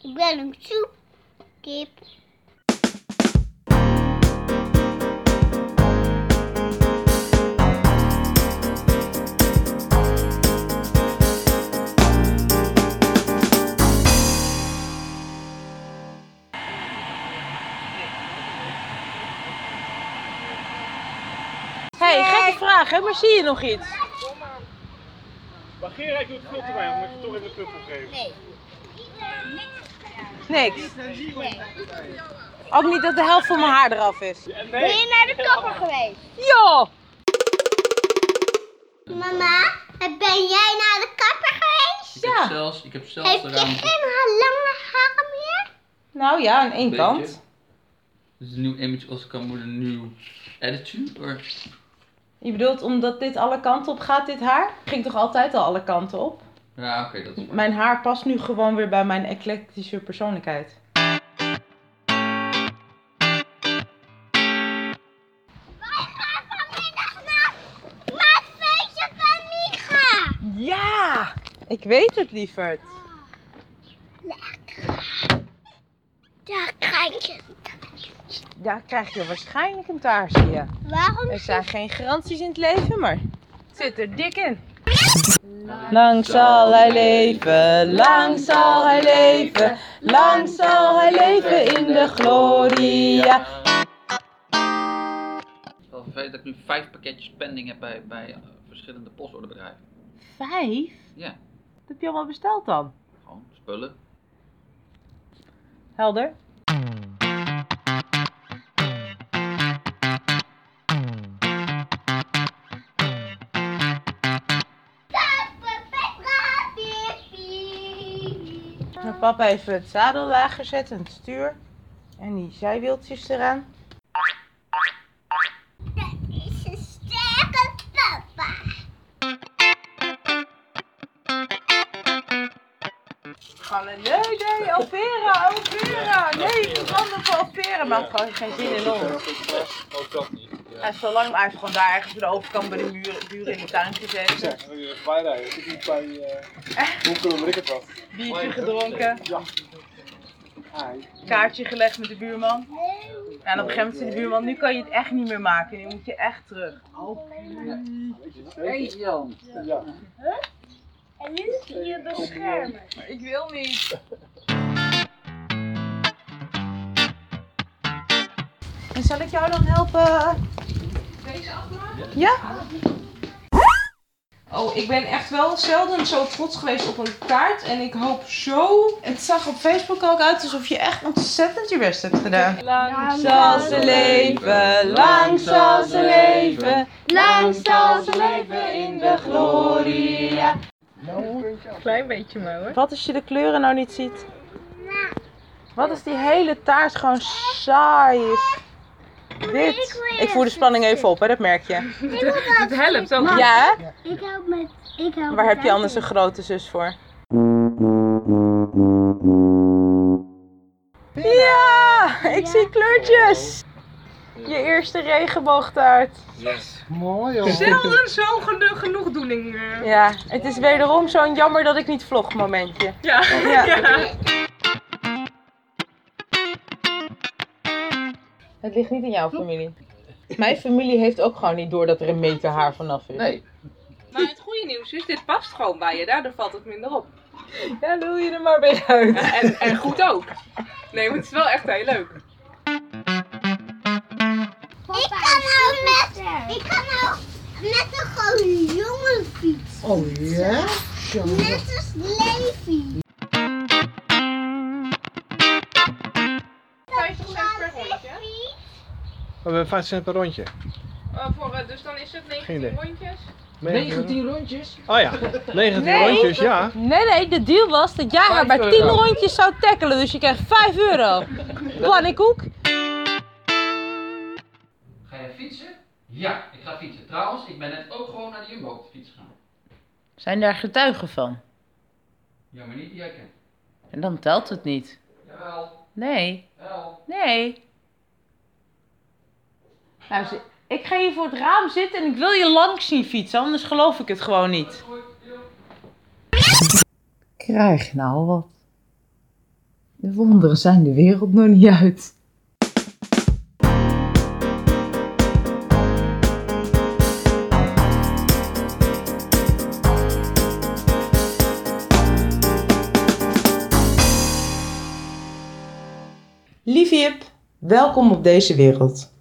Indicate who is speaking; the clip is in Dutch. Speaker 1: Ik ben een soepkip.
Speaker 2: hey, gekke vraag hè, maar zie je nog iets?
Speaker 3: Maar Gerard doet veel te weinig, moet je toch even een knuffel geven.
Speaker 2: Niks. Ook niet dat de helft van mijn haar eraf is.
Speaker 3: En
Speaker 1: Ben
Speaker 3: nee,
Speaker 1: je naar de kapper geweest?
Speaker 2: Jo!
Speaker 1: Mama, ben jij naar de kapper geweest?
Speaker 4: Ik heb zelfs, ik heb zelfs
Speaker 1: Heb
Speaker 4: de
Speaker 1: je
Speaker 4: ramen
Speaker 1: geen ha- lange haren meer?
Speaker 2: Nou ja, aan één
Speaker 4: Beetje.
Speaker 2: kant.
Speaker 4: Dit is Dus een nieuw image Oscar moet een nieuw attitude. Or...
Speaker 2: Je bedoelt omdat dit alle kanten op gaat, dit haar? Ging toch altijd al alle kanten op?
Speaker 4: Ja, oké, dat is
Speaker 2: Mijn haar past nu gewoon weer bij mijn eclectische persoonlijkheid.
Speaker 1: Wij gaan vanmiddag naar, naar het feestje van Micha.
Speaker 2: Ja! Ik weet het, lieverd.
Speaker 1: Daar krijg je.
Speaker 2: Ja, krijg je waarschijnlijk een taartje.
Speaker 1: Waarom?
Speaker 2: Er zijn geen garanties in het leven, maar het zit er dik in. Lang zal hij leven, lang zal hij leven, lang zal hij leven in de gloria.
Speaker 4: Het is wel vervelend dat ik nu vijf pakketjes pending heb bij, bij eh, verschillende postorderbedrijven.
Speaker 2: Vijf?
Speaker 4: Ja,
Speaker 2: Wat heb je allemaal besteld dan?
Speaker 4: gewoon spullen.
Speaker 2: Helder? Nou, papa heeft het zadel laag gezet en het stuur. En die zijwieltjes eraan.
Speaker 1: Dat is een sterke papa.
Speaker 2: Gewoon een nee, nee, opera, opera. Nee, ik veranderen voor opera. Maar gewoon geen zin in ons.
Speaker 3: ook dat niet.
Speaker 2: En zolang maar even gewoon daar ergens aan de overkant bij de muren, buren in de tuin gezet.
Speaker 3: Zeg, dat je even bijrijden. Ik zit niet bij, eh, hoe kunnen we ik het wat?
Speaker 2: Biertje gedronken.
Speaker 3: Hi.
Speaker 2: Kaartje gelegd met de buurman. En op een gegeven moment zei de buurman, nu kan je het echt niet meer maken. Nu moet je echt terug.
Speaker 3: Weet je het zeker? Ja.
Speaker 1: En nu zie je beschermen.
Speaker 2: Maar ik wil niet. En zal ik jou dan helpen? Deze Ja. Oh, ik ben echt wel zelden zo trots geweest op een taart. En ik hoop zo... Het zag op Facebook ook uit alsof je echt ontzettend je best hebt gedaan. Lang zal ze leven, lang zal ze leven. Lang zal ze leven in de gloria.
Speaker 5: Klein beetje maar hoor.
Speaker 2: Wat als je de kleuren nou niet ziet? Wat als die hele taart gewoon saai is? Wit. Ik voer de spanning even op, hè, dat merk je.
Speaker 5: Het helpt ook.
Speaker 2: Ja, hè?
Speaker 1: Ik help met. Ik help
Speaker 2: Waar
Speaker 1: met
Speaker 2: heb je anders een grote zus voor? Ja, ik zie kleurtjes. Je eerste regenboogtaart.
Speaker 3: Mooi hoor.
Speaker 5: Zelden zo'n geno- genoegdoening. eh.
Speaker 2: Ja, het is wederom zo'n jammer dat ik niet vlog momentje.
Speaker 5: Ja.
Speaker 2: Ja. Het ligt niet in jouw familie. Mijn familie heeft ook gewoon niet door dat er een meter haar vanaf is.
Speaker 4: Nee,
Speaker 5: Maar het goede nieuws is, dit past gewoon bij je. Daardoor valt het minder op.
Speaker 2: Ja, lul je er maar weer uit.
Speaker 5: En, en goed ook. Nee, maar het is wel echt heel leuk.
Speaker 1: Ik kan nou met, ik kan nou met een gewoon jongen fietsen. Oh ja? Net als Levi.
Speaker 5: 50 cent per rondje.
Speaker 3: We hebben 5 cent per rondje.
Speaker 5: voor, dus dan is het
Speaker 3: idee.
Speaker 5: rondjes.
Speaker 4: 19 rondjes.
Speaker 3: Oh ja, 19
Speaker 2: Nee.
Speaker 3: rondjes, ja.
Speaker 2: Nee, nee, de deal was dat jij haar bij 10 rondjes zou tackelen, dus je krijgt 5 euro. Pannenkoek.
Speaker 4: Ga jij fietsen? Ja, ik ga fietsen. Trouwens, ik ben net ook gewoon naar de Jumbo op de fiets gegaan.
Speaker 2: Zijn daar getuigen van?
Speaker 4: Ja, maar niet die jij kent.
Speaker 2: En dan telt het niet.
Speaker 4: Jawel,
Speaker 2: Nee,
Speaker 4: wel.
Speaker 2: nee. Nou, ik ga hier voor het raam zitten en ik wil je langs zien fietsen, anders geloof ik het gewoon niet. Krijg nou wat.
Speaker 6: De wonderen zijn de wereld nog niet uit.
Speaker 2: Lieve Jip, welkom op deze wereld.